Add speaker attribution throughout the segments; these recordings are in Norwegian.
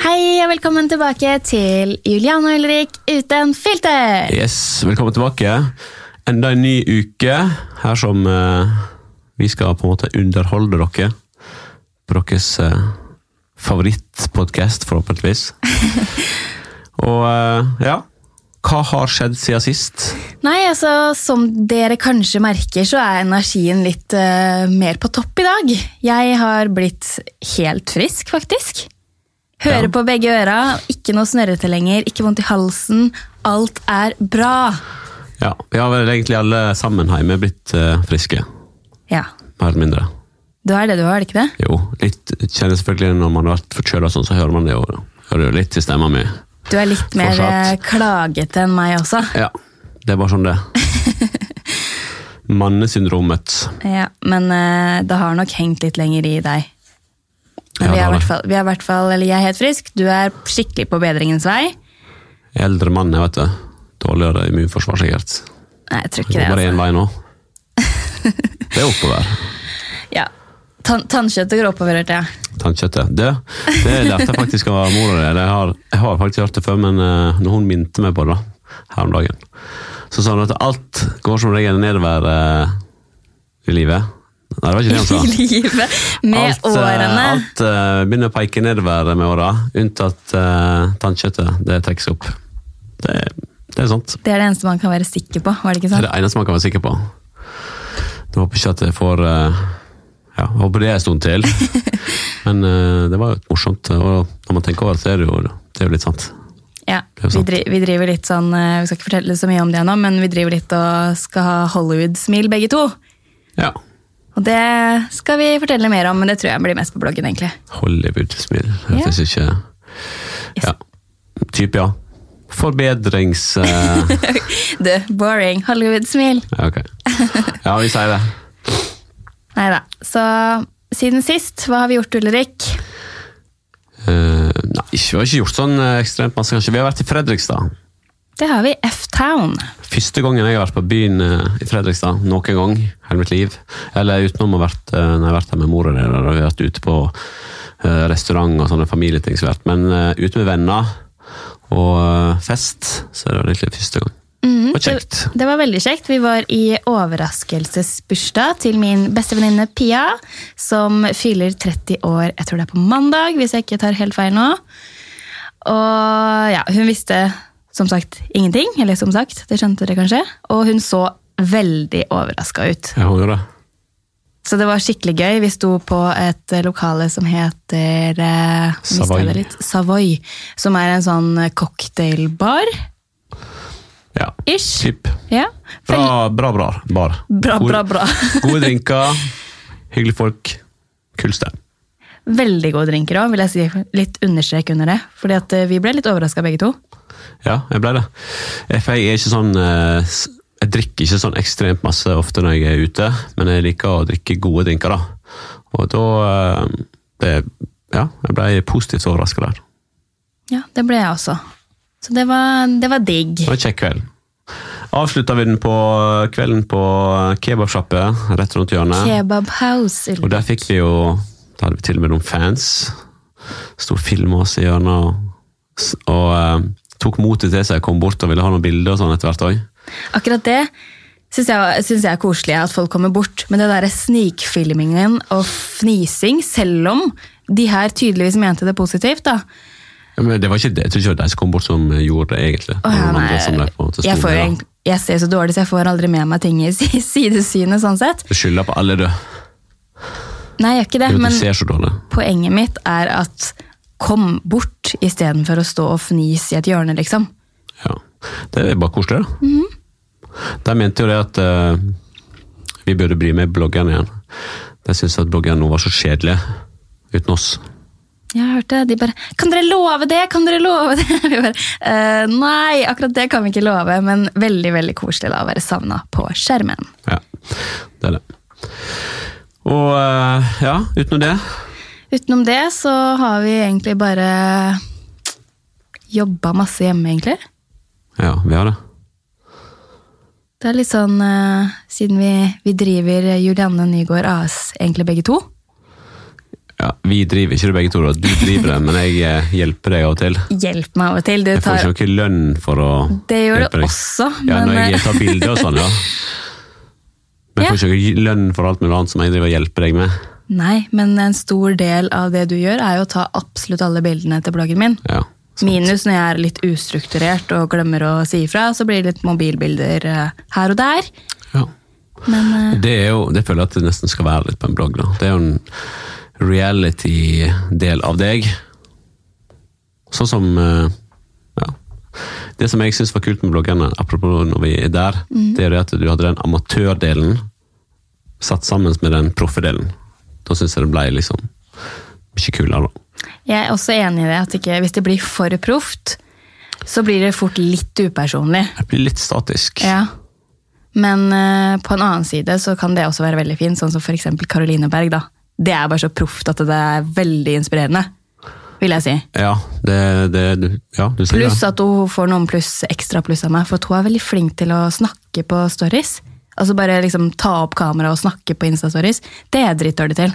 Speaker 1: Hei og velkommen tilbake til Juliane og Ulrik uten filter!
Speaker 2: Yes, velkommen tilbake. Enda en ny uke her som eh, vi skal på en måte underholde dere på deres eh, favorittpodkast, forhåpentligvis. Og eh, ja, hva har skjedd siden sist?
Speaker 1: Nei, altså, som dere kanskje merker, så er energien litt eh, mer på topp i dag. Jeg har blitt helt frisk, faktisk. Hører
Speaker 2: Ja.
Speaker 1: på begge øra, ikke noe snørrete lenger, ikke vondt i halsen. Alt er bra!
Speaker 2: Ja, Vi har vel egentlig alle sammen hjemme blitt eh, friske,
Speaker 1: Ja,
Speaker 2: mer eller mindre.
Speaker 1: du er det du har, er det ikke det?
Speaker 2: Jo, litt kjennes selvfølgelig når man har vært forkjøla sånn, så hører man det jo hører jo litt i stemma mi.
Speaker 1: Du er litt mer
Speaker 2: Fortsatt.
Speaker 1: eh, klagete enn meg også.
Speaker 2: Ja, det er bare sånn det. Mannesyndromet.
Speaker 1: Ja, men eh, det har nok hengt litt lenger i deg. Men
Speaker 2: Ja,
Speaker 1: vi er i
Speaker 2: det har det.
Speaker 1: hvert fall- vi er i hvert fall, eller jeg er helt frisk, du er skikkelig på bedringens vei.
Speaker 2: Eldre mann, jeg vet det. Dårligere immunforsvar, sikkert.
Speaker 1: Nei, jeg tror
Speaker 2: Det
Speaker 1: ikke
Speaker 2: går
Speaker 1: det.
Speaker 2: bare én
Speaker 1: Altså.
Speaker 2: vei nå. Det er oppover.
Speaker 1: altså. Ja. Tan tannkjøttet går oppover, hørte jeg.
Speaker 2: Tannkjøttet. Det, det lærte jeg faktisk av mora di. Jeg, har- jeg har faktisk hørt det før, men eh, når hun minte meg på det da, her om dagen, så sa hun at alt går som regel nedover eh, i livet. Nei, det var ikke det hun sa.
Speaker 1: I livet. Med
Speaker 2: eh,
Speaker 1: årene.
Speaker 2: alt eh, begynner å peke nedover med åra, unntatt eh, tannkjøttet. Det trekkes opp. Det, det er sant.
Speaker 1: Det er det eneste man kan være sikker på, var det ikke
Speaker 2: Det er
Speaker 1: sant?
Speaker 2: det eneste man kan være sikker på. Jeg håper ikke at jeg får eh, ja, jeg håper det er en stund til. Men eh, det var jo morsomt. Og når man tenker over det, så er det jo, det er jo litt sant.
Speaker 1: Ja.
Speaker 2: er jo
Speaker 1: Vi,
Speaker 2: sant.
Speaker 1: dri vi driver litt sånn eh, Vi skal ikke fortelle så mye om det nå, men vi driver litt og skal ha Hollywood-smil, begge to.
Speaker 2: Ja.
Speaker 1: Og det skal vi fortelle mer om, men det tror jeg blir mest på bloggen, egentlig.
Speaker 2: Hollywood-smil. Det fins ikke
Speaker 1: Yes.
Speaker 2: Ja. Type, ja. Forbedrings... eh,
Speaker 1: Du, boring. Hollywood-smil.
Speaker 2: ja, ok. Ja, vi sier det.
Speaker 1: Nei da. Så siden sist, hva har vi gjort, Ulrik?
Speaker 2: Eh, nei, ikke- vi har ikke gjort sånn eh, ekstremt masse, kanskje. Vi har vært i Fredrikstad.
Speaker 1: Det har vi F-Town.
Speaker 2: Første gangen jeg har vært på byen eh, i Fredrikstad, noen gang, hele mitt liv, eller utenom å ha vært, eh, når jeg har vært der med mor og dere, og vi har vært ute på eh, restaurant og sånne familieting, som har vært, men eh, ute med venner og eh, fest, så er det egentlig første gang.
Speaker 1: Mhm,
Speaker 2: Og kjekt.
Speaker 1: Det, det var veldig kjekt. Vi var i overraskelsesbursdag til min bestevenninne Pia, som fyller 30 år, jeg tror det er på mandag, hvis jeg ikke tar helt feil nå. Og ja, hun visste som sagt ingenting, eller som sagt, det skjønte dere kanskje, og hun så veldig overraska ut.
Speaker 2: Jeg håper det.
Speaker 1: Så det var skikkelig gøy. Vi sto på et eh, lokale som heter eh, nå mistet
Speaker 2: Savoy.
Speaker 1: jeg det Litt, Savoy. Som er en sånn eh, cocktailbar.
Speaker 2: Ja.
Speaker 1: Ish.
Speaker 2: Typ.
Speaker 1: Ja. Vel-
Speaker 2: Bra, bra, bra. Bar.
Speaker 1: Bra,
Speaker 2: Gode-
Speaker 1: bra, bra.
Speaker 2: Gode drinker, hyggelige folk, kul sted.
Speaker 1: Veldig gode drinker òg, vil jeg si. Litt understrek under det. Fordi at eh, vi ble litt overraska begge to.
Speaker 2: Ja, jeg ble det. Jeg- For jeg er ikke sånn eh, s- Jeg drikker ikke sånn ekstremt masse ofte når jeg er ute, men jeg liker å drikke gode drinker, da. Og da eh, det, Ja, jeg ble positivt overraska der.
Speaker 1: Ja, det ble jeg også. Så det var, det var digg.
Speaker 2: Det var en kjekk kveld. Avslutta vi den på kvelden på kebabsjappe rett rundt hjørnet.
Speaker 1: Kebab House.
Speaker 2: Og der fikk vi jo Da hadde vi til og med noen fans. Sto og filma oss i hjørnet og, s- og eh, tok motet til seg, kom bort og ville ha noen bilder og sånn etter hvert òg.
Speaker 1: Akkurat det syns jeg, synes jeg er koselig, at folk kommer bort. Men det derre snikfilmingen og fnising, selv om de her tydeligvis mente det positivt, da.
Speaker 2: Ja, men det var ikke det. Jeg tror ikke det var de som kom bort som eh, gjorde det, egentlig.
Speaker 1: Åh,
Speaker 2: Det var
Speaker 1: ja,
Speaker 2: noen
Speaker 1: nei,
Speaker 2: andre som ble på en
Speaker 1: jeg,
Speaker 2: måte store,
Speaker 1: får, jo
Speaker 2: da.
Speaker 1: egentlig- jeg ser så dårlig, så jeg får aldri med meg ting i si- sidesynet, sånn sett.
Speaker 2: Du skylder på alle, du.
Speaker 1: Nei, jeg gjør ikke
Speaker 2: Du,
Speaker 1: det,
Speaker 2: vet,
Speaker 1: men
Speaker 2: du ser så dårlig.
Speaker 1: poenget mitt er at kom bort istedenfor å stå og fnise i et hjørne, liksom.
Speaker 2: Ja. Det er bare koselig, da.
Speaker 1: Mhm.
Speaker 2: De mente jo det at eh, vi burde bli med bloggerne igjen. De syntes at bloggerne nå var så kjedelige uten oss.
Speaker 1: Jeg hørte de bare 'Kan dere love det?' Kan dere love det? Vi bare, «Eh, Nei, akkurat det kan vi ikke love, men veldig veldig koselig da å være savna på skjermen.
Speaker 2: Ja, det er det. Og eh, ja, utenom det
Speaker 1: Utenom det så har vi egentlig bare jobba masse hjemme, egentlig.
Speaker 2: Ja, vi har det.
Speaker 1: Det er litt sånn eh, Siden vi, vi driver Julianne Nygaard AS egentlig begge to,
Speaker 2: Ja, vi driver ikke det begge to, da. Du driver det, men jeg eh, hjelper deg av og til.
Speaker 1: Hjelp meg av og til. Du
Speaker 2: Jeg får
Speaker 1: tar
Speaker 2: ikke noe lønn for å
Speaker 1: Det gjør
Speaker 2: hjelpe
Speaker 1: det
Speaker 2: deg.
Speaker 1: også,
Speaker 2: Ja,
Speaker 1: men eh,
Speaker 2: når jeg tar bilder og sånn, ja. Men
Speaker 1: Ja.
Speaker 2: jeg får ikke lønn for alt mulig annet som jeg driver og hjelper deg med.
Speaker 1: Nei, men en stor del av det du gjør, er jo å ta absolutt alle bildene til bloggen min.
Speaker 2: Ja.
Speaker 1: Minus når jeg er litt ustrukturert og glemmer å si ifra, så blir det litt mobilbilder eh, her og der.
Speaker 2: ja.
Speaker 1: Men eh,
Speaker 2: Det er jo, det føler jeg at det nesten skal være litt på en blogg, da. Det er jo en reality-del av deg. Sånn som, eh, ja. Det som jeg synes var kult med bloggerne, apropos når vi er der,
Speaker 1: Mm.
Speaker 2: det er det at du hadde den amatørdelen satt sammen med den proffe-delen. Da synes jeg det ble liksom mye kulere da.
Speaker 1: jeg er også enig i det, at ikke, hvis det blir for proft, så blir det fort litt upersonlig.
Speaker 2: Jeg blir litt statisk.
Speaker 1: Ja. Men eh, på en annen side så kan det også være veldig fint, sånn som for eksempel Caroline Berg. da. Det er bare så proft at det er veldig inspirerende, vil jeg si.
Speaker 2: Ja, det, det, du- ja du sier
Speaker 1: Pluss
Speaker 2: det.
Speaker 1: at hun får noen pluss, ekstra pluss av meg, for at hun er veldig flink til å snakke på stories. Altså bare liksom ta opp kamera og snakke på Insta-stories. Det er jeg dritdårlig til.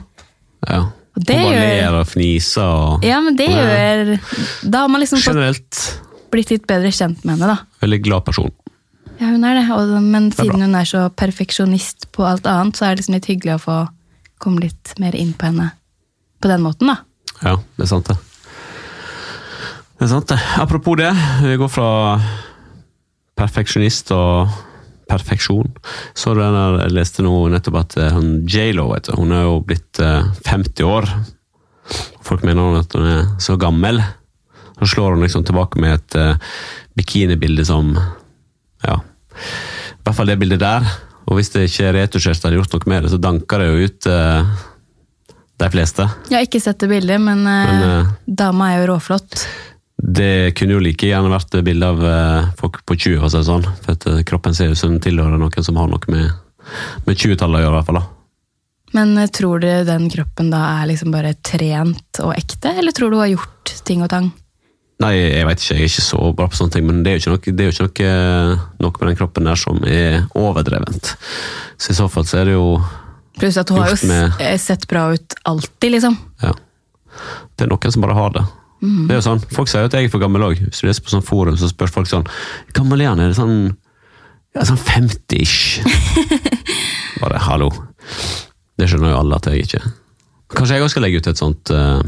Speaker 2: Ja.
Speaker 1: Og det
Speaker 2: Hun bare
Speaker 1: gjør-
Speaker 2: ler og fniser og
Speaker 1: Ja, men det
Speaker 2: Ja.
Speaker 1: gjør Da har man liksom fått
Speaker 2: Generelt
Speaker 1: blitt litt bedre kjent med henne, da.
Speaker 2: veldig glad person.
Speaker 1: Ja, hun er det, og, men
Speaker 2: er bra.
Speaker 1: siden hun er så perfeksjonist på alt annet, så er det liksom litt hyggelig å få komme litt mer inn på henne på den måten, da.
Speaker 2: Ja, det er sant det. Det er sant det. Apropos det, vi går fra perfeksjonist og perfeksjon. Så den der, jeg leste nå nettopp at eh, hun J.Lo, vet du, hun er jo blitt eh, 50 år. Folk mener hun at hun er så gammel. Så slår hun liksom tilbake med et eh, bikinibilde som Ja. I hvert fall det bildet der. Og hvis det ikke retusjert hadde gjort noe med det, så danker det jo ut eh, de fleste.
Speaker 1: Jeg har ikke sett det bildet, men, eh,
Speaker 2: Men, eh,
Speaker 1: dama er jo råflott.
Speaker 2: Det kunne jo like gjerne vært et bilde av eh, folk på 20, for å si det sånn. For at eh, kroppen ser ut som den tilhører noen som har noe med, med 20-tallet å gjøre, i hvert fall. da.
Speaker 1: Men eh, tror du den kroppen da er liksom bare trent og ekte, eller tror du hun har gjort ting og tang?
Speaker 2: Nei, jeg veit ikke, jeg er ikke så bra på sånne ting, men det er jo ikke noe, det er jo ikke noe, noe med den kroppen der som er overdrevent. Så i så fall så er det jo
Speaker 1: Pluss at hun har jo
Speaker 2: Gjort med-
Speaker 1: s- eh, sett bra ut alltid, liksom.
Speaker 2: Ja. Det er noen som bare har det. Det er jo sånn, Folk sier jo at jeg er for gammel òg. Hvis du leser på sånn forum, så spør folk sånn Hvor gammel er han? Er det sånn, ja, sånn 50-ish? bare hallo. Det skjønner jo alle at jeg ikke Kanskje jeg òg skal legge ut et sånt eh,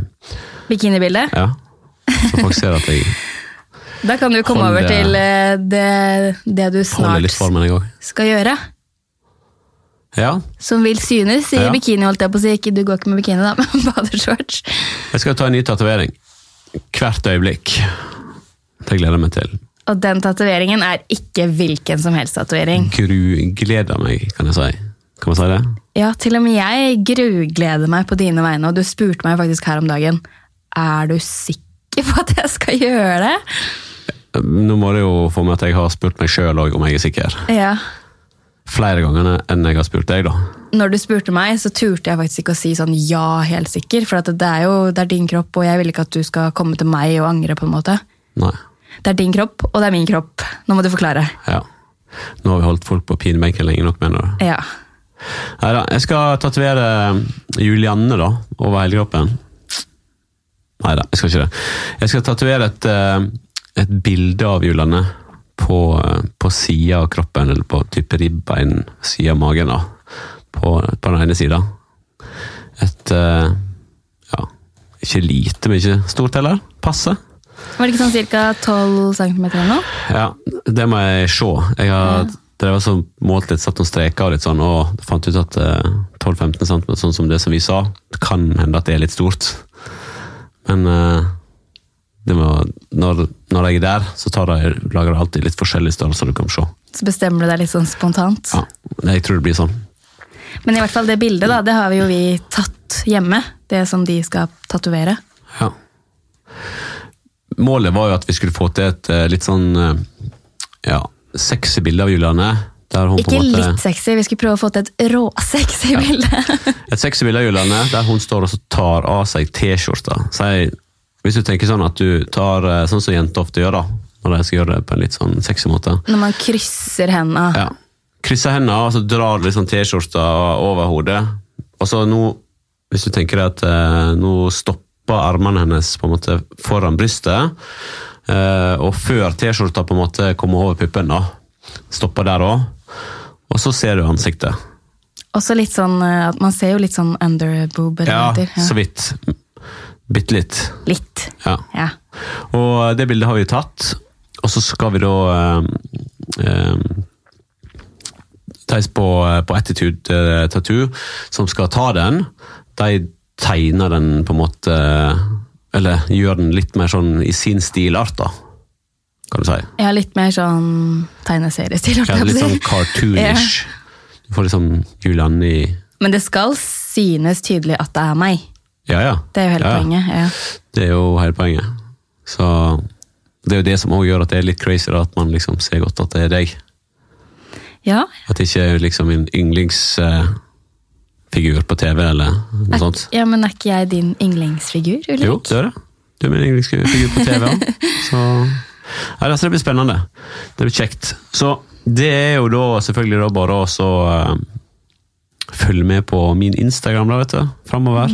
Speaker 1: Bikinibildet.
Speaker 2: Ja. Så folk ser at jeg
Speaker 1: Da kan du komme
Speaker 2: Hold
Speaker 1: over
Speaker 2: det-
Speaker 1: til eh, det, det du
Speaker 2: holder
Speaker 1: snart
Speaker 2: litt formen, jeg òg.
Speaker 1: skal gjøre.
Speaker 2: Ja.
Speaker 1: Som vil synes i
Speaker 2: Ja.
Speaker 1: bikini, holdt jeg på å si. Ikke, du går ikke med bikini, da, men badeshorts.
Speaker 2: Jeg skal ta en ny tatovering. Hvert øyeblikk. Det gleder jeg meg til.
Speaker 1: Og den tatoveringen er ikke hvilken som helst tatovering.
Speaker 2: Gru gleder meg, kan jeg si. Kan man si det?
Speaker 1: Ja, til og med jeg grugleder meg på dine vegne, og du spurte meg faktisk her om dagen Er du sikker på at jeg skal gjøre det.
Speaker 2: Nå må det jo få med at jeg har spurt meg sjøl òg om jeg er sikker.
Speaker 1: Ja.
Speaker 2: Flere ganger enn jeg har spurt deg, da.
Speaker 1: Når du spurte meg, så turte jeg faktisk ikke å si sånn ja, helt sikker, for at det er jo det er din kropp, og jeg vil ikke at du skal komme til meg og angre, på en måte.
Speaker 2: Nei.
Speaker 1: Det er din kropp, og det er min kropp. Nå må du forklare.
Speaker 2: Ja. Nå har vi holdt folk på pinebenken lenge nok, mener du.
Speaker 1: Ja.
Speaker 2: Nei da, jeg skal tatovere Julianne, da, over hele kroppen. Nei da, jeg skal ikke det. Jeg skal tatovere et, eh, et bilde av Julianne på, eh, på sida av kroppen, eller på type ribbein, sida av magen, da. På, på den ene sida. Et eh, Ja, ikke lite, men ikke stort heller. Passe.
Speaker 1: Var det ikke sånn ca. 12 cm eller noe?
Speaker 2: Ja, det må jeg se. Jeg har drevet så målt litt, satt noen streker og litt sånn, og fant ut at eh, 12-15 cm, sånn som det som vi sa, det kan hende at det er litt stort. Men eh, det må, når, når jeg er der, så tar jeg, lager jeg alltid litt forskjellige størrelser du kan se.
Speaker 1: Så bestemmer du deg litt sånn spontant.
Speaker 2: Ja, jeg tror det blir sånn.
Speaker 1: Men i hvert fall det bildet, da, det har vi jo vi tatt hjemme. Det som de skal tatovere.
Speaker 2: Ja. Målet var jo at vi skulle få til et eh, litt sånn eh, ja, sexy bilde av Julianne. Der hun på
Speaker 1: Ikke
Speaker 2: en måte,
Speaker 1: litt sexy, vi skulle prøve å få til et råsexy bilde.
Speaker 2: Et sexy bilde av Julianne, der hun står og så tar av seg T-skjorta. Si- Hvis du tenker sånn at du tar eh, sånn som jenter ofte gjør, da, når de skal gjøre det på en litt sånn sexy måte.
Speaker 1: Når man krysser henda.
Speaker 2: Ja. Krysser hendene og så drar du liksom T-skjorta over hodet. Og så nå Hvis du tenker deg at eh, nå stopper armene hennes på en måte foran brystet, eh, og før T-skjorta på en måte kommer over puppen, da, stopper der òg, og så ser du ansiktet.
Speaker 1: Også litt sånn eh, at man ser jo litt sånn underboob.
Speaker 2: Ja,
Speaker 1: eller hva det heter.
Speaker 2: så vidt. Bitte litt.
Speaker 1: Litt.
Speaker 2: Ja.
Speaker 1: Ja.
Speaker 2: Og det bildet har vi tatt, og så skal vi da eh, eh, Theis på, på Attitude eh, Tattoo, som skal ta den, de tegner den på en måte eh, Eller gjør den litt mer sånn i sin stilart, da, kan du si.
Speaker 1: ja, litt mer sånn tegneseriestil. holdt
Speaker 2: Ja,
Speaker 1: jeg på å
Speaker 2: litt
Speaker 1: si.
Speaker 2: sånn cartoonish. Du får liksom Julianne i
Speaker 1: Men det skal synes tydelig at det er meg.
Speaker 2: Ja, ja.
Speaker 1: Det er jo hele
Speaker 2: Ja, ja.
Speaker 1: poenget. Ja.
Speaker 2: Det er jo hele poenget. Så det er jo det som også gjør at det er litt crazy, da, at man liksom ser godt at det er deg.
Speaker 1: ja,
Speaker 2: At det ikke er liksom en yndlingsfigur på TV eller noe sånt.
Speaker 1: ja, men er ikke jeg din yndlingsfigur, Ulrik?
Speaker 2: Jo, det er det. Du er min yndlingsfigur på TV. ja. Så Nei, altså, det blir spennende. Det blir kjekt. Så det er jo da selvfølgelig da bare å så eh, følge med på min Instagram da, vet du, framover.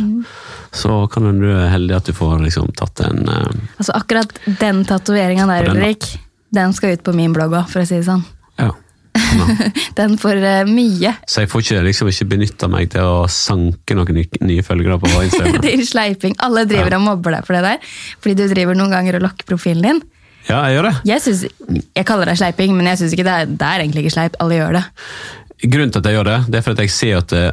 Speaker 2: Så kan du være heldig at du får liksom tatt en eh,
Speaker 1: Altså akkurat den tatoveringa der,
Speaker 2: For den, da.
Speaker 1: Ulrik, den skal ut på min blogg òg, for å si det sånn.
Speaker 2: Ja.
Speaker 1: Den får eh, mye.
Speaker 2: Så jeg får ikke, liksom, ikke benytta meg til å sanke noen nye, nye følgere på Instagram.
Speaker 1: Din sleiping. Alle driver og mobber deg for det der, fordi du driver noen ganger og lokker profilen din.
Speaker 2: Ja, jeg gjør det.
Speaker 1: Jeg, synes, jeg kaller det sleiping, men jeg synes ikke det er, det er egentlig ikke sleipt. Alle gjør det.
Speaker 2: Grunnen til at jeg gjør det, det er for at jeg ser at det,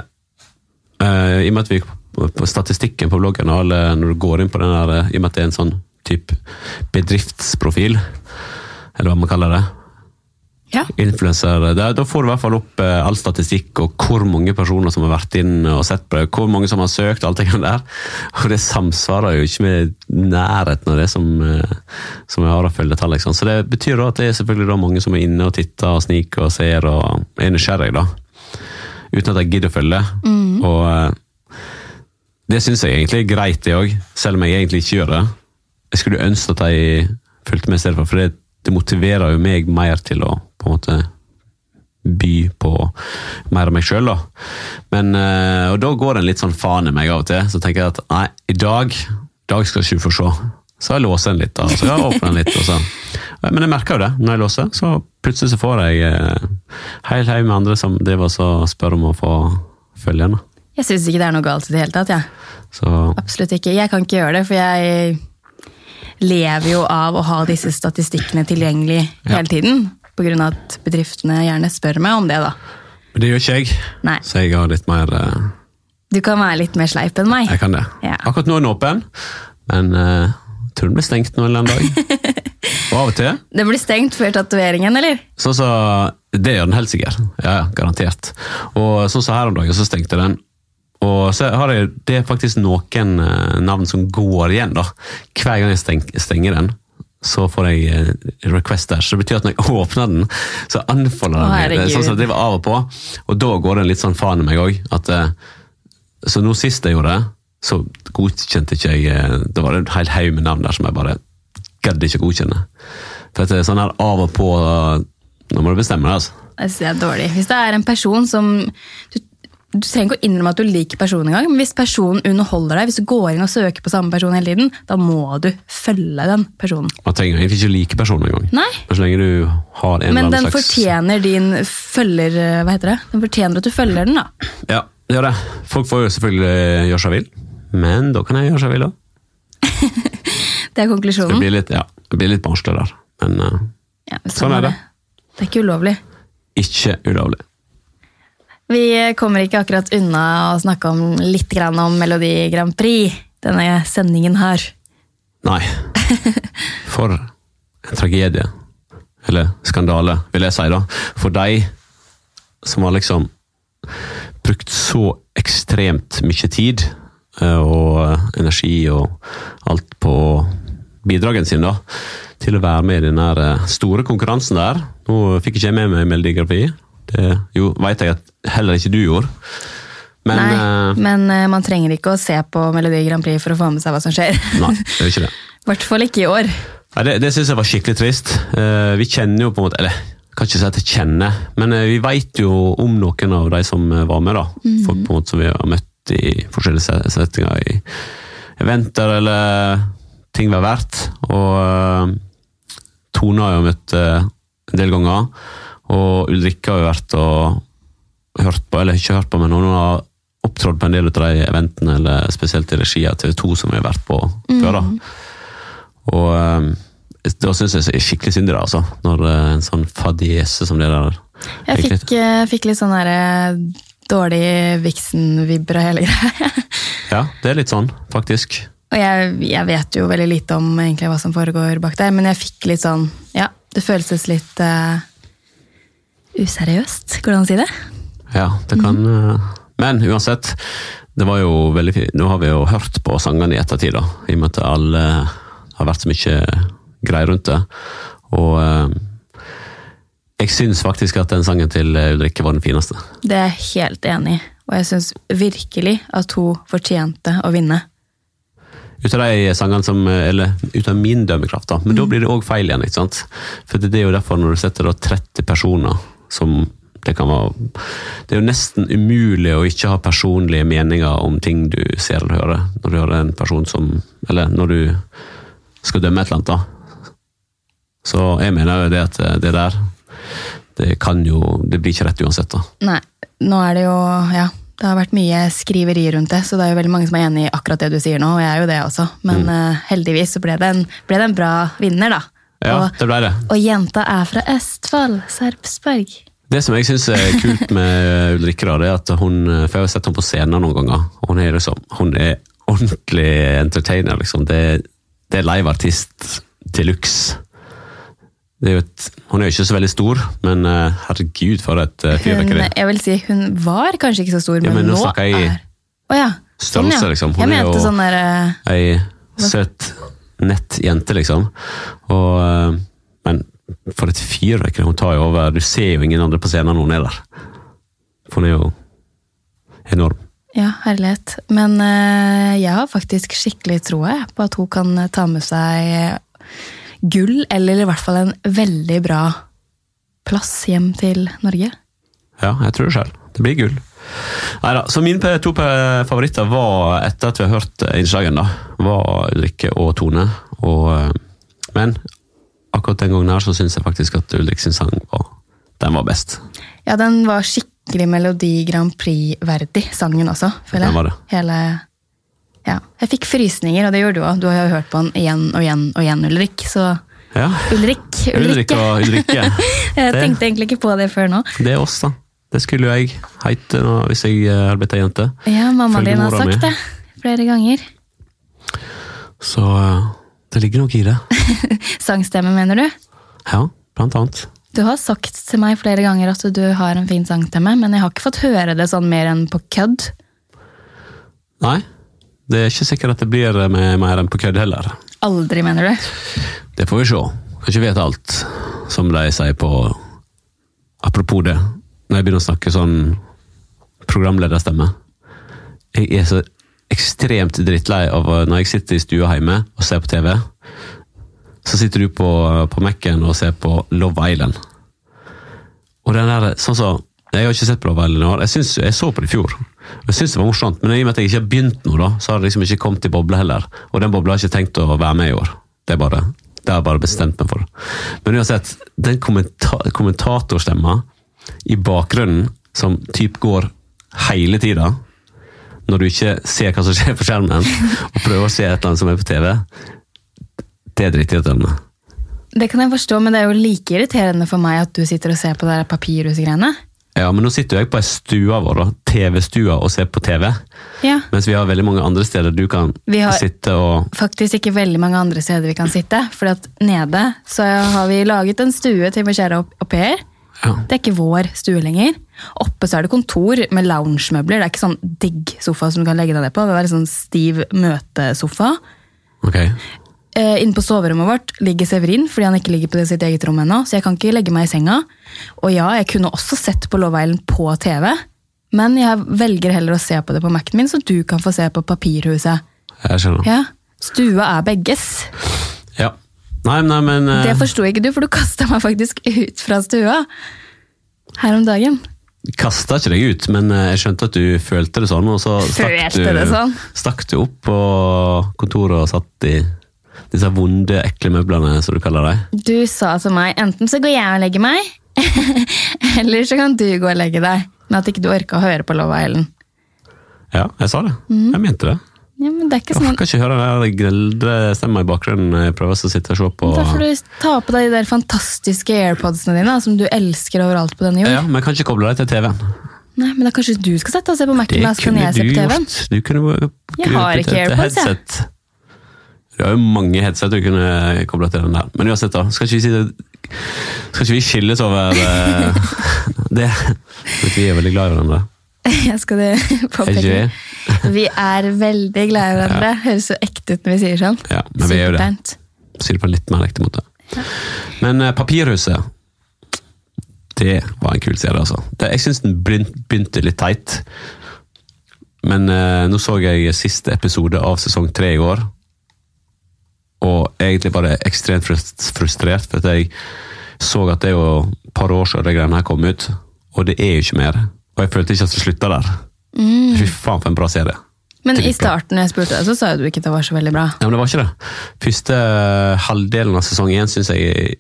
Speaker 2: eh, I og med at vi på, på statistikken på bloggen, og alle, når du går inn på den der, eh, i og med at det er en sånn type bedriftsprofil, eller hva man kaller det,
Speaker 1: Ja.
Speaker 2: influenser, da, da får du i hvert fall opp eh, all statistikk og hvor mange personer som har vært inn og sett på det, hvor mange som har søkt, alt det kan der. Og det samsvarer jo ikke med nærheten av det som, eh, som jeg har å følge tall. Liksom. Så det betyr da at det er selvfølgelig da mange som er inne og titter og sniker og ser og er nysgjerrig, da. Uten at jeg gidder å følge. Og eh, det syns jeg egentlig er greit, det òg, selv om jeg egentlig ikke gjør det. Jeg skulle ønske at de fulgte med i stedet for, for det, det motiverer jo meg mer til å på en måte by på mer av meg sjøl, da. Men, eh, og da går det en litt sånn faen i meg av og til. Så tenker jeg at nei, i dag, i dag skal ikke du få se. Så jeg låser den litt, da. Så jeg åpner den litt. Og så. Men jeg merker jo det når jeg låser. Så plutselig så får jeg eh, heil haug med andre som driver og så spør om å få følge den. da.
Speaker 1: Jeg synes ikke det er noe galt i det hele tatt. Ja.
Speaker 2: Så
Speaker 1: Absolutt ikke. Jeg kan ikke gjøre det, for jeg lever jo av å ha disse statistikkene tilgjengelig hele tiden. På grunn av at bedriftene gjerne spør meg om det, da.
Speaker 2: Men det gjør ikke jeg.
Speaker 1: Nei.
Speaker 2: Så jeg har litt mer eh,
Speaker 1: Du kan være litt mer sleip enn meg.
Speaker 2: Jeg kan det.
Speaker 1: Ja.
Speaker 2: Akkurat nå er den åpen, men eh, tror den blir stengt nå en eller annen dag. Og av og til,
Speaker 1: Det blir stengt før tatoveringen, eller?
Speaker 2: sånn så Det gjør den helt sikkert. Ja, ja, garantert. Og sånn som her om dagen, så stengte den. Og så har jeg, det er faktisk noen eh, navn som går igjen, da. Hver gang jeg steng, stenger den, så får jeg eh, request der. Så det betyr at når jeg åpner den, så anfaller
Speaker 1: Å,
Speaker 2: den meg. Det er
Speaker 1: herregud.
Speaker 2: Sånn som jeg driver av og på. Og da går den litt sånn faen i meg òg. At eh, Så nå sist jeg gjorde det, så godkjente ikke jeg eh, Det var en hel haug med navn der som jeg bare gadd ikke godkjenne. For at det er sånn her av og på eh, Nå må du bestemme deg, altså.
Speaker 1: Jeg synes det er dårlig. Hvis det er en person som du, du trenger ikke å innrømme at du liker personen engang, men hvis personen underholder deg, hvis du går inn og søker på samme person hele tiden, da må du følge den personen.
Speaker 2: Man trenger egentlig ikke like personen engang.
Speaker 1: Nei.
Speaker 2: Men Så lenge du har en
Speaker 1: Men
Speaker 2: eller
Speaker 1: den
Speaker 2: annen slags
Speaker 1: fortjener din følger... eh, Hva heter det? Den fortjener at du følger den, da.
Speaker 2: Ja, det gjør det. Folk får jo selvfølgelig eh, gjøre seg vill, men da kan jeg gjøre seg vill òg.
Speaker 1: Det er
Speaker 2: Det
Speaker 1: konklusjonen.
Speaker 2: blir litt, ja, det blir litt vanskelig der, men eh,
Speaker 1: Ja,
Speaker 2: Sånn er det.
Speaker 1: Det er ikke ulovlig.
Speaker 2: ikke ulovlig.
Speaker 1: Vi kommer ikke akkurat unna å snakke om litt grann om Melodi Grand Prix denne sendingen her.
Speaker 2: Nei. For en tragedie. Eller skandale, vil jeg si da. For de som har liksom brukt så ekstremt mye tid eh, og eh, energi og alt på bidragen sin da, til å være med i den her eh, store konkurransen der. Nå fikk ikke jeg med meg Melodi Grand Prix. Det jo, vet jeg at heller ikke du gjorde. Men
Speaker 1: Nei,
Speaker 2: eh,
Speaker 1: men eh, man trenger ikke å se på Melodi Grand Prix for å få med seg hva som skjer.
Speaker 2: Nei, det er jo ikke det.
Speaker 1: I hvert fall ikke i år.
Speaker 2: Nei, det, det syns jeg var skikkelig trist. Eh, vi kjenner jo på en måte Eller jeg kan ikke si at jeg kjenner, men eh, vi veit jo om noen av de som eh, var med. da. Folk på en måte som vi har møtt ut i forskjellige se- settinger i eventer eller ting vi har vært. Og eh, Tone har jeg jo møtt eh, en del ganger, og Ulrikke har jo vært og hørt på, eller ikke hørt på, men hun har opptrådt på en del av de eventene, eller spesielt i regi av TV 2 som vi har vært på før. da. Og eh, da syns jeg det er skikkelig synd i det, altså. Når eh, en sånn fadiese som det der
Speaker 1: Jeg
Speaker 2: egentlig-
Speaker 1: fikk, eh, fikk litt sånn der eh, dårlig Vixen-vibber og hele greia.
Speaker 2: Ja, det er litt sånn, faktisk.
Speaker 1: Og jeg, jeg vet jo veldig lite om egentlig hva som foregår bak der, men jeg fikk litt sånn Ja, det føltes litt eh, useriøst, går det an å si det?
Speaker 2: Ja, det kan eh, Men uansett, det var jo veldig fint. Nå har vi jo hørt på sangene i ettertid, da. I og med at alle har vært så mye greier rundt det. Og eh, jeg syns faktisk at den sangen til eh, Ulrikke var den fineste.
Speaker 1: Det er jeg helt enig i, og jeg syns virkelig at hun fortjente å vinne.
Speaker 2: Ut av de sangene som Eller ut av min dømmekraft, da. Men da blir det òg feil igjen, ikke sant. For det er jo derfor, når du setter da 30 personer som det kan være Det er jo nesten umulig å ikke ha personlige meninger om ting du ser eller hører, når du hører en person som Eller når du skal dømme et eller annet, da. Så jeg mener jo det at det der Det kan jo Det blir ikke rett uansett, da.
Speaker 1: Nei, nå er det jo Ja, det har vært mye skriveri rundt det, så det er jo veldig mange som er enig i akkurat det du sier nå, og jeg er jo det også, men
Speaker 2: Mm.
Speaker 1: eh, heldigvis så ble det, en, ble det en bra vinner, da.
Speaker 2: Ja,
Speaker 1: Og,
Speaker 2: det ble det.
Speaker 1: og jenta er fra Østfold, Sarpsborg.
Speaker 2: Det som jeg syns er kult med eh, Ulrikke, da, det er at hun eh, For jeg har sett henne på scenen noen ganger. og Hun er liksom, hun er ordentlig entertainer, liksom. Det, er- det er liveartist til luxe. Det er jo et, hun er jo ikke så veldig stor, men eh, herregud, for et eh,
Speaker 1: Hun,
Speaker 2: fyrverkeri.
Speaker 1: jeg vil si hun var kanskje ikke så stor,
Speaker 2: Ja,
Speaker 1: men,
Speaker 2: men nå
Speaker 1: nå
Speaker 2: snakker jeg i
Speaker 1: er Å ja. Sånn,
Speaker 2: størrelse,
Speaker 1: ja.
Speaker 2: liksom. Hun
Speaker 1: Jeg
Speaker 2: er
Speaker 1: mente
Speaker 2: jo-
Speaker 1: sånn der eh,
Speaker 2: Ei søt, nett jente, liksom. Og, eh, men for et fyrverkeri hun tar jo over. Du ser jo ingen andre på scenen når hun er der. For hun er jo enorm.
Speaker 1: Ja, herlighet. Men eh, jeg har faktisk skikkelig troa jeg, på at hun kan ta med seg eh, gull, eller i hvert fall en veldig bra plass hjem til Norge.
Speaker 2: Ja, jeg tror det selv. Det blir gull. Neida, så mine pe- to pe- favoritter var, etter at vi har hørt eh, innslagene, da, var Ulrikke og Tone. Og, eh, men akkurat den gangen her så syns jeg faktisk at Ulrik sin sang var, den var best.
Speaker 1: Ja, den var skikkelig Melodi Grand Prix-verdig, sangen også, føler jeg.
Speaker 2: Den var det.
Speaker 1: Hele ja. Jeg fikk frysninger, og det gjorde du òg. Du har jo hørt på den igjen og igjen og igjen, Ulrik. Så
Speaker 2: Ja.
Speaker 1: Ulrik,
Speaker 2: Ulrik
Speaker 1: Ulrikke.
Speaker 2: og Ulrikke.
Speaker 1: Jeg
Speaker 2: Det-
Speaker 1: tenkte egentlig ikke på det før nå.
Speaker 2: Det er oss, da. Det skulle jo jeg hete nå, hvis jeg eh, hadde blitt ei jente.
Speaker 1: Ja, mamma
Speaker 2: Følger
Speaker 1: din har
Speaker 2: mora mi.
Speaker 1: sagt det flere ganger.
Speaker 2: Så eh, det ligger nok i det.
Speaker 1: Sangstemme, mener du?
Speaker 2: Ja, blant annet.
Speaker 1: Du har sagt til meg flere ganger at du har en fin sangstemme, men jeg har ikke fått høre det sånn mer enn på kødd.
Speaker 2: Nei, det er ikke sikkert at det blir eh, med mer enn på kødd heller.
Speaker 1: Aldri, mener du?
Speaker 2: Det får vi se. Kan ikke vite alt, som de sier på Apropos det, når jeg begynner å snakke sånn programlederstemme Jeg er så ekstremt drittlei av å- når jeg sitter i stua hjemme og ser på TV. Så sitter du på, på Mac-en og ser på Love Island. Og den der, sånn så, Jeg har ikke sett på Love Island i år. Jeg, syns- jeg så på det i fjor. Jeg syns det var morsomt, men i og med at jeg ikke har begynt nå, da, så har det liksom ikke kommet i bobla heller. Og den bobla har jeg ikke tenkt å være med i år. Det er bare, det har jeg bare bestemt meg for. Men uansett, den kommenta kommentatorstemma i bakgrunnen som typ går hele tida når du ikke ser hva som skjer på skjermen, og prøver å se et eller annet som er på TV, det er drittirriterende.
Speaker 1: Det kan jeg forstå, men det er jo like irriterende for meg at du sitter og ser på det der papirhusgreiene.
Speaker 2: Ja, men nå sitter jo jeg på ei stua vår, da, TV-stua, og ser på TV.
Speaker 1: Ja.
Speaker 2: Mens vi har veldig mange andre steder du kan
Speaker 1: Vi har-
Speaker 2: sitte og
Speaker 1: Faktisk ikke veldig mange andre steder vi kan sitte, for at nede så har vi laget en stue til vår kjære au- au pair.
Speaker 2: ja.
Speaker 1: Det er ikke vår stue lenger. Oppe så er det kontor med loungemøbler. Det er ikke sånn digg sofa som du kan legge deg ned på. Det er litt sånn stiv møtesofa.
Speaker 2: Ok.
Speaker 1: Eh, inne på soverommet vårt ligger Severin, fordi han ikke ligger på det sitt eget rom ennå. Så jeg kan ikke legge meg i senga. Og ja, jeg kunne også sett på Love Island på TV, men jeg velger heller å se på det på Mac-en min, så du kan få se på Papirhuset.
Speaker 2: Jeg skjønner. Ja.
Speaker 1: Ja, Stua er begges.
Speaker 2: Nei, nei, men eh,
Speaker 1: Det forsto ikke du, for du kasta meg faktisk ut fra stua her om dagen.
Speaker 2: kasta eh, ikke deg ut, men eh, jeg skjønte at du følte det sånn, og så stakk du,
Speaker 1: Følte det sånn?
Speaker 2: stakk du opp på kontoret og satt i disse vonde, ekle møblene, som du kaller dem.
Speaker 1: Du sa til meg enten så går jeg og legger meg, eller så kan du gå og legge deg. Men at ikke du orka å høre på Lova Ellen.
Speaker 2: Ja, jeg sa det. Jeg mente det.
Speaker 1: Ja, men det er ikke
Speaker 2: Jeg
Speaker 1: Mhm. sånn
Speaker 2: orker ikke høre den der gneldestemma i bakgrunnen når jeg prøver å sitte og se på.
Speaker 1: Da får du ta på deg de der fantastiske airpodsene dine, da, som du elsker overalt på denne jord.
Speaker 2: Ja, men jeg kan ikke koble deg til TV-en.
Speaker 1: Nei, men da kanskje du skal sette deg og se på Mac-en, da, så kan jeg se på TV-en.
Speaker 2: Du kunne bare
Speaker 1: Jeg har ikke AirPods, jeg.
Speaker 2: jeg. Du har jo mange headset du kunne kobla til den der. Men uansett, da. Skal ikke vi, si det, skal ikke vi skilles over eh, det? Vet du, vi er veldig glad i hverandre.
Speaker 1: Jeg skal det påpeke.
Speaker 2: Er
Speaker 1: Vi er veldig glad i hverandre. Høres så ekte ut når vi sier sånn.
Speaker 2: Ja, men vi er jo det.
Speaker 1: Superpent.
Speaker 2: Si det på en litt mer ekte måte. Men eh, Papirhuset Det var en kul serie, altså. Det, jeg syns den begyn- begynte litt teit. Men eh, nå så jeg siste episode av sesong tre i går. Og egentlig bare ekstremt frus- frustrert, for at jeg så at det er jo et par år siden de greiene her kom ut. Og det er jo ikke mer. Og jeg følte ikke at det slutta der. Fy faen, for en bra serie.
Speaker 1: Men i
Speaker 2: Dritbra.
Speaker 1: starten når jeg spurte deg, så sa jo du ikke at det var så veldig bra.
Speaker 2: Ja, men det var ikke det. Første eh, halvdelen av sesong én syns jeg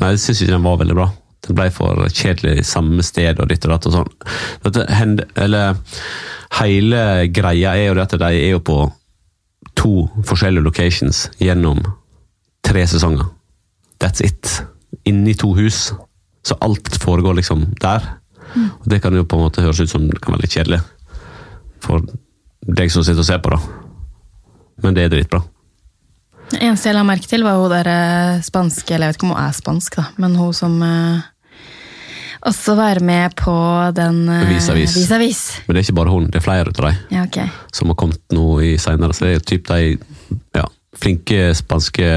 Speaker 2: Nei, jeg syns ikke den var veldig bra. Den ble for kjedelig i samme sted og ditt og datt og sånn. Dette hend- eller Hele greia er jo det at de er jo på to forskjellige locations gjennom tre sesonger. That's it. Inni to hus. Så alt foregår liksom der. Og det kan jo på en måte høres ut som det kan være litt kjedelig for deg som sitter og ser på, da. Men det er dritbra.
Speaker 1: Det eneste jeg la merke til, var hun der eh, spanske, eller jeg vet ikke om hun er spansk, da, men hun som eh, også var med på den eh,
Speaker 2: Vis Avis.
Speaker 1: Avis.
Speaker 2: Men det er ikke bare hun, det er flere av dem
Speaker 1: Ja, ok.
Speaker 2: som har kommet nå i senere. Så det er jo typ de ja, flinke spanske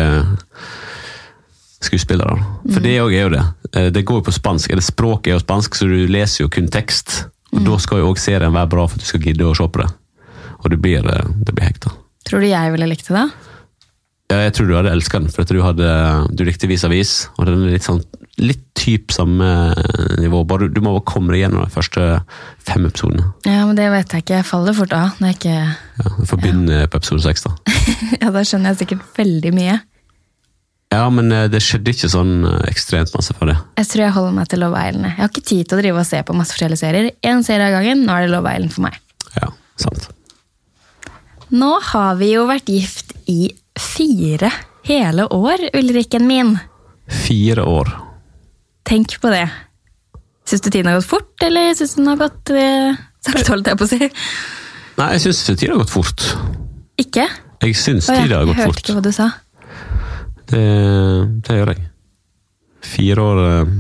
Speaker 2: skuespillere. da. For det òg er jo det. Eh, Det går jo på spansk, eller språket er jo spansk, så du leser jo kun tekst. Og da skal jo òg serien være bra for at du skal gidde å se på det. Og du blir, eh, det blir hekta.
Speaker 1: Tror du jeg ville likt det? da?
Speaker 2: Ja, jeg tror du hadde elska den, for at du, hadde, du likte Vis Avis, og den er litt sånn litt typ samme nivå. Bare, du må bare komme deg gjennom de første fem episodene.
Speaker 1: Ja, men det vet jeg ikke. Jeg faller fort av når jeg ikke
Speaker 2: Ja, vi får begynne på episode seks, da.
Speaker 1: Ja, da skjønner jeg sikkert veldig mye.
Speaker 2: Ja, men eh, det skjedde ikke sånn eh, ekstremt masse for det.
Speaker 1: Jeg tror jeg holder meg til Love Island. Jeg Jeg har ikke tid til å drive og se på masse forskjellige serier. Én serie av gangen. Nå er det Love Island for meg.
Speaker 2: Ja, sant.
Speaker 1: Nå har vi jo vært gift i fire hele år, Ulrikken min.
Speaker 2: Fire år.
Speaker 1: Tenk på det. Syns du tiden har gått fort, eller syns du den har gått eh, sakte, holdt jeg på å si?
Speaker 2: Nei, jeg syns tida har gått fort.
Speaker 1: Ikke?
Speaker 2: Jeg syns
Speaker 1: Å, jeg
Speaker 2: tida har gått
Speaker 1: hørte
Speaker 2: fort.
Speaker 1: ikke hva du sa.
Speaker 2: Det, det gjør jeg. Fire år eh,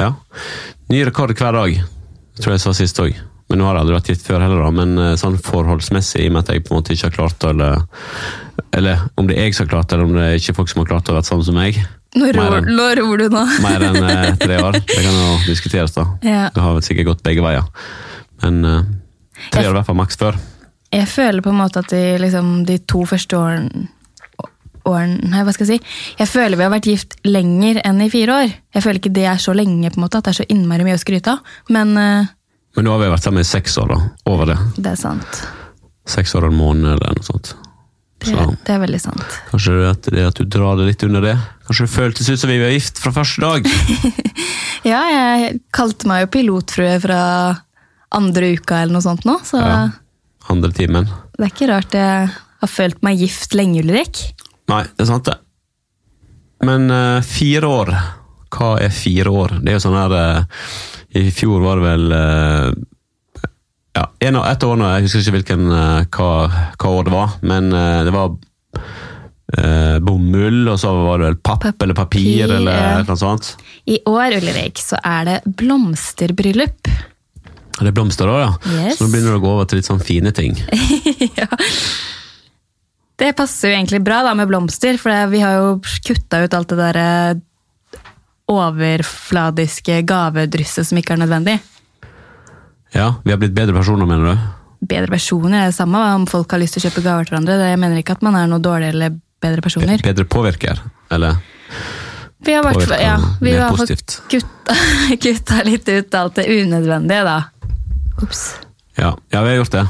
Speaker 2: Ja. Ny rekord hver dag, tror jeg jeg sa sist òg. Men nå har jeg aldri vært gitt før heller, da. Men eh, sånn forholdsmessig, i og med at jeg på en måte ikke har klart det, eller Eller om det er jeg som har klart det, eller om det er ikke folk som har klart det og vært sammen som meg.
Speaker 1: Nå
Speaker 2: Mer
Speaker 1: ror,
Speaker 2: enn-
Speaker 1: nå ror du nå.
Speaker 2: mer enn eh, tre år. Det kan jo diskuteres, da.
Speaker 1: Ja.
Speaker 2: Det har vel sikkert gått begge veier. Men eh, tre år i hvert fall maks før.
Speaker 1: Jeg føler på en måte at de, liksom, de to første årene årene- Nei, hva skal jeg si? Jeg føler vi har vært gift lenger enn i fire år. Jeg føler ikke det er så lenge, på en måte, at det er så innmari mye å skryte av. Men eh,
Speaker 2: Men nå har vi vært sammen i seks år, da. Over det.
Speaker 1: det er sant.
Speaker 2: Seks år og en måned eller noe sånt.
Speaker 1: Det,
Speaker 2: Så
Speaker 1: det er veldig sant.
Speaker 2: kanskje det at, det at du drar det litt under det. Kanskje det føltes ut som vi var gift fra første dag.
Speaker 1: Ja, jeg kalte meg jo pilotfrue fra andre uka eller noe sånt nå, så
Speaker 2: Ja. Andre timen.
Speaker 1: det er ikke rart jeg har følt meg gift lenge, Ulrik.
Speaker 2: Nei, det er sant, det. Men eh, fire år Hva er fire år? Det er jo sånn her eh, I fjor var det vel eh, Ja, en av, et år nå, jeg husker ikke hvilken, eh, hva, hva år det var, men eh, det var eh, bomull, og så var det vel papp
Speaker 1: Papir,
Speaker 2: eller papir eller et
Speaker 1: ja.
Speaker 2: eller annet sånt.
Speaker 1: I år, Ulrik, så er det blomsterbryllup.
Speaker 2: Og Det er blomster òg, ja.
Speaker 1: Yes.
Speaker 2: Så nå begynner det å gå over til litt sånn fine ting.
Speaker 1: ja. Det passer jo egentlig bra da med blomster, for det- vi har jo kutta ut alt det der eh, overfladiske gavedrysset som ikke er nødvendig.
Speaker 2: Ja, vi har blitt bedre personer, mener du?
Speaker 1: Bedre personer er det samme hva om folk har lyst til å kjøpe gaver til hverandre. Det- Jeg mener ikke at man er noe dårlig eller bedre personer.
Speaker 2: Bedre påvirker, eller?
Speaker 1: Vi har vært,
Speaker 2: Påvirka
Speaker 1: ja, vi
Speaker 2: mer
Speaker 1: har fått
Speaker 2: positivt.
Speaker 1: Kutta, kutta litt ut alt det unødvendige, da. Ops.
Speaker 2: Ja, ja vi har gjort det.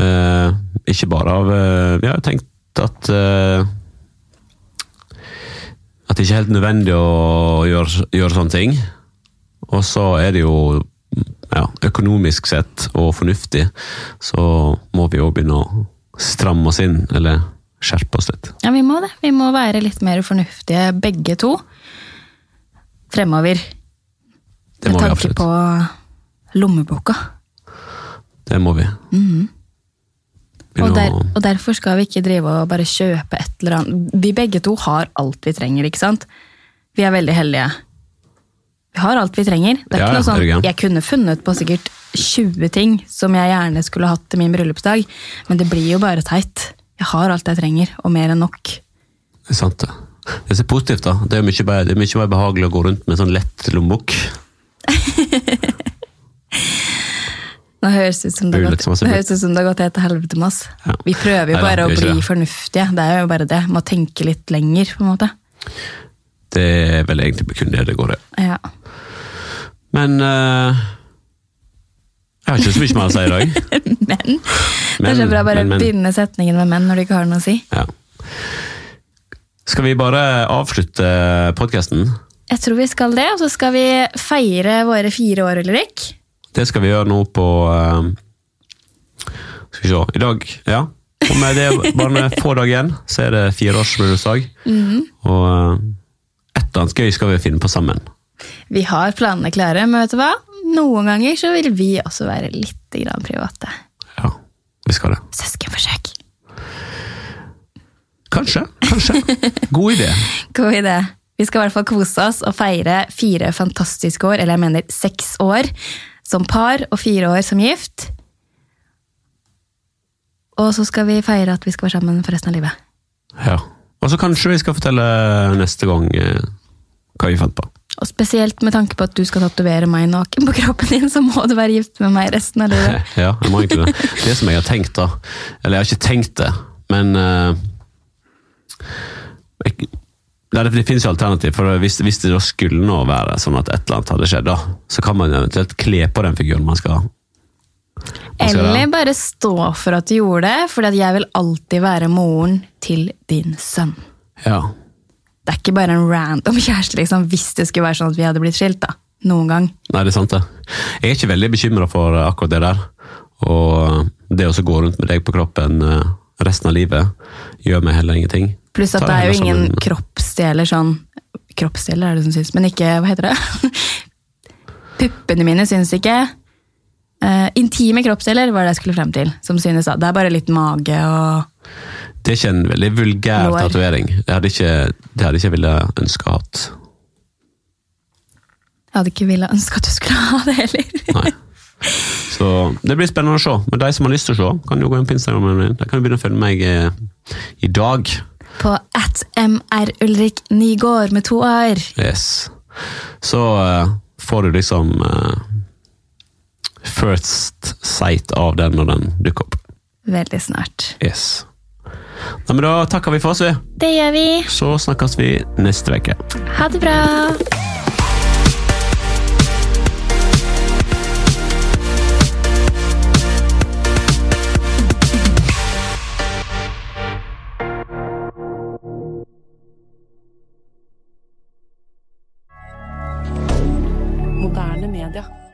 Speaker 2: Eh, ikke bare av eh, Vi har tenkt at eh, At det ikke er helt nødvendig å gjøre, gjøre sånne ting. Og så er det jo ja, økonomisk sett og fornuftig, så må vi jo begynne å stramme oss inn, eller skjerpe oss litt.
Speaker 1: Ja, vi må det. Vi må være litt mer fornuftige, begge to. Fremover.
Speaker 2: Det må
Speaker 1: Med
Speaker 2: vi
Speaker 1: tanke
Speaker 2: absolutt.
Speaker 1: på lommeboka.
Speaker 2: Det må vi.
Speaker 1: Og,
Speaker 2: Begynne
Speaker 1: der,
Speaker 2: å
Speaker 1: Mhm. og derfor skal vi ikke drive og bare kjøpe et eller annet. Vi begge to har alt vi trenger, ikke sant? Vi er veldig heldige. Vi har alt vi trenger. Det er
Speaker 2: Ja,
Speaker 1: ikke
Speaker 2: ja,
Speaker 1: noe sånn,
Speaker 2: er du gæren?
Speaker 1: Jeg kunne funnet på sikkert 20 ting som jeg gjerne skulle hatt til min bryllupsdag, men det blir jo bare teit. Jeg har alt jeg trenger, og mer enn nok.
Speaker 2: Det er sant, det. Det er så positivt, da. Det er mye, bedre, det er mye mer behagelig å gå rundt med en sånn lett lommebok.
Speaker 1: Nå høres det ut som det
Speaker 2: Det
Speaker 1: har
Speaker 2: er jo
Speaker 1: gått,
Speaker 2: liksom også-
Speaker 1: nå høres det ut som det har gått helt til helvete med oss.
Speaker 2: Ja.
Speaker 1: Vi prøver jo
Speaker 2: Neida,
Speaker 1: bare
Speaker 2: vi
Speaker 1: å
Speaker 2: gjør ikke
Speaker 1: bli
Speaker 2: det.
Speaker 1: fornuftige. Det er jo bare det. Må tenke litt lenger, på en måte.
Speaker 2: Det er vel egentlig kun det det går i.
Speaker 1: Ja.
Speaker 2: Men eh, Jeg har ikke så mye mer å si i dag.
Speaker 1: Men, det er så
Speaker 2: Men-
Speaker 1: bra å bare
Speaker 2: men- men.
Speaker 1: begynne setningen med menn når du ikke har noe å si.
Speaker 2: Ja. Skal vi bare avslutte podkasten?
Speaker 1: Jeg tror vi skal det, og så skal vi feire våre fire år, Ulrik.
Speaker 2: Det skal vi gjøre nå på eh, Skal vi se I dag, ja. Om det er bare noen få dager igjen, så er det fireårsbryllupsdag.
Speaker 1: Mhm.
Speaker 2: Og eh, et eller annet gøy skal vi finne på sammen.
Speaker 1: Vi har planene klare, men vet du hva? Noen ganger så vil vi også være litt grann private.
Speaker 2: Ja, vi skal det.
Speaker 1: Søskenforsøk.
Speaker 2: Kanskje. Kanskje. God idé.
Speaker 1: God idé. Vi skal i hvert fall kose oss og feire fire fantastiske år, eller jeg mener seks år som par og fire år som gift. Og så skal vi feire at vi skal være sammen for resten av livet.
Speaker 2: Ja. Og så kanskje vi skal fortelle neste gang eh, hva vi fant på.
Speaker 1: Og spesielt med tanke på at du skal tatovere meg naken på kroppen din, så må du være gift med meg resten av livet.
Speaker 2: Ja, jeg må egentlig det. Det som jeg har tenkt, da Eller jeg har ikke tenkt det, men eh, jeg, Nei, det, det finnes jo alternativ, for hvis, hvis det da skulle nå være sånn at et eller annet hadde skjedd, da, så kan man eventuelt kle på den figuren man skal man skal ha.
Speaker 1: Eller bare stå for at du gjorde det, for jeg vil alltid være moren til din sønn.
Speaker 2: Ja.
Speaker 1: Det er ikke bare en random kjæreste, liksom, hvis det skulle være sånn at vi hadde blitt skilt. da. Noen gang.
Speaker 2: Nei, det er sant, det. Jeg er ikke veldig bekymra for eh, akkurat det der. Og eh, det å så gå rundt med deg på kroppen eh, resten av livet gjør meg heller ingenting.
Speaker 1: Pluss at
Speaker 2: Ta
Speaker 1: det er jo
Speaker 2: heller som
Speaker 1: ingen
Speaker 2: en-
Speaker 1: kroppsdeler sånn Kroppsdeler er det som syns, men ikke Hva heter det? Puppene mine syns ikke. Eh, intime kroppsdeler var det jeg skulle frem til. som synes da. Det er bare litt mage og
Speaker 2: Det er ikke en veldig vulgær
Speaker 1: Lår.
Speaker 2: tatovering. Det hadde ikke, det hadde ikke jeg ville ønske å hatt.
Speaker 1: Jeg hadde ikke villet ønske at du skulle ha det heller.
Speaker 2: Nei. Så det blir spennende å se. Men de som har lyst til å se, kan jo gå inn på Instagramen min. De kan jo begynne å følge meg eh, i dag.
Speaker 1: På at mr. Ulrik Nygaard med to a-er.
Speaker 2: Yes. Så eh, får du liksom eh, first sight av den når den dukker opp.
Speaker 1: Veldig snart.
Speaker 2: Yes. Nei, men da takker vi for oss, vi.
Speaker 1: Det gjør vi.
Speaker 2: Så snakkes vi neste uke.
Speaker 1: Ha det bra.
Speaker 3: Moderne media.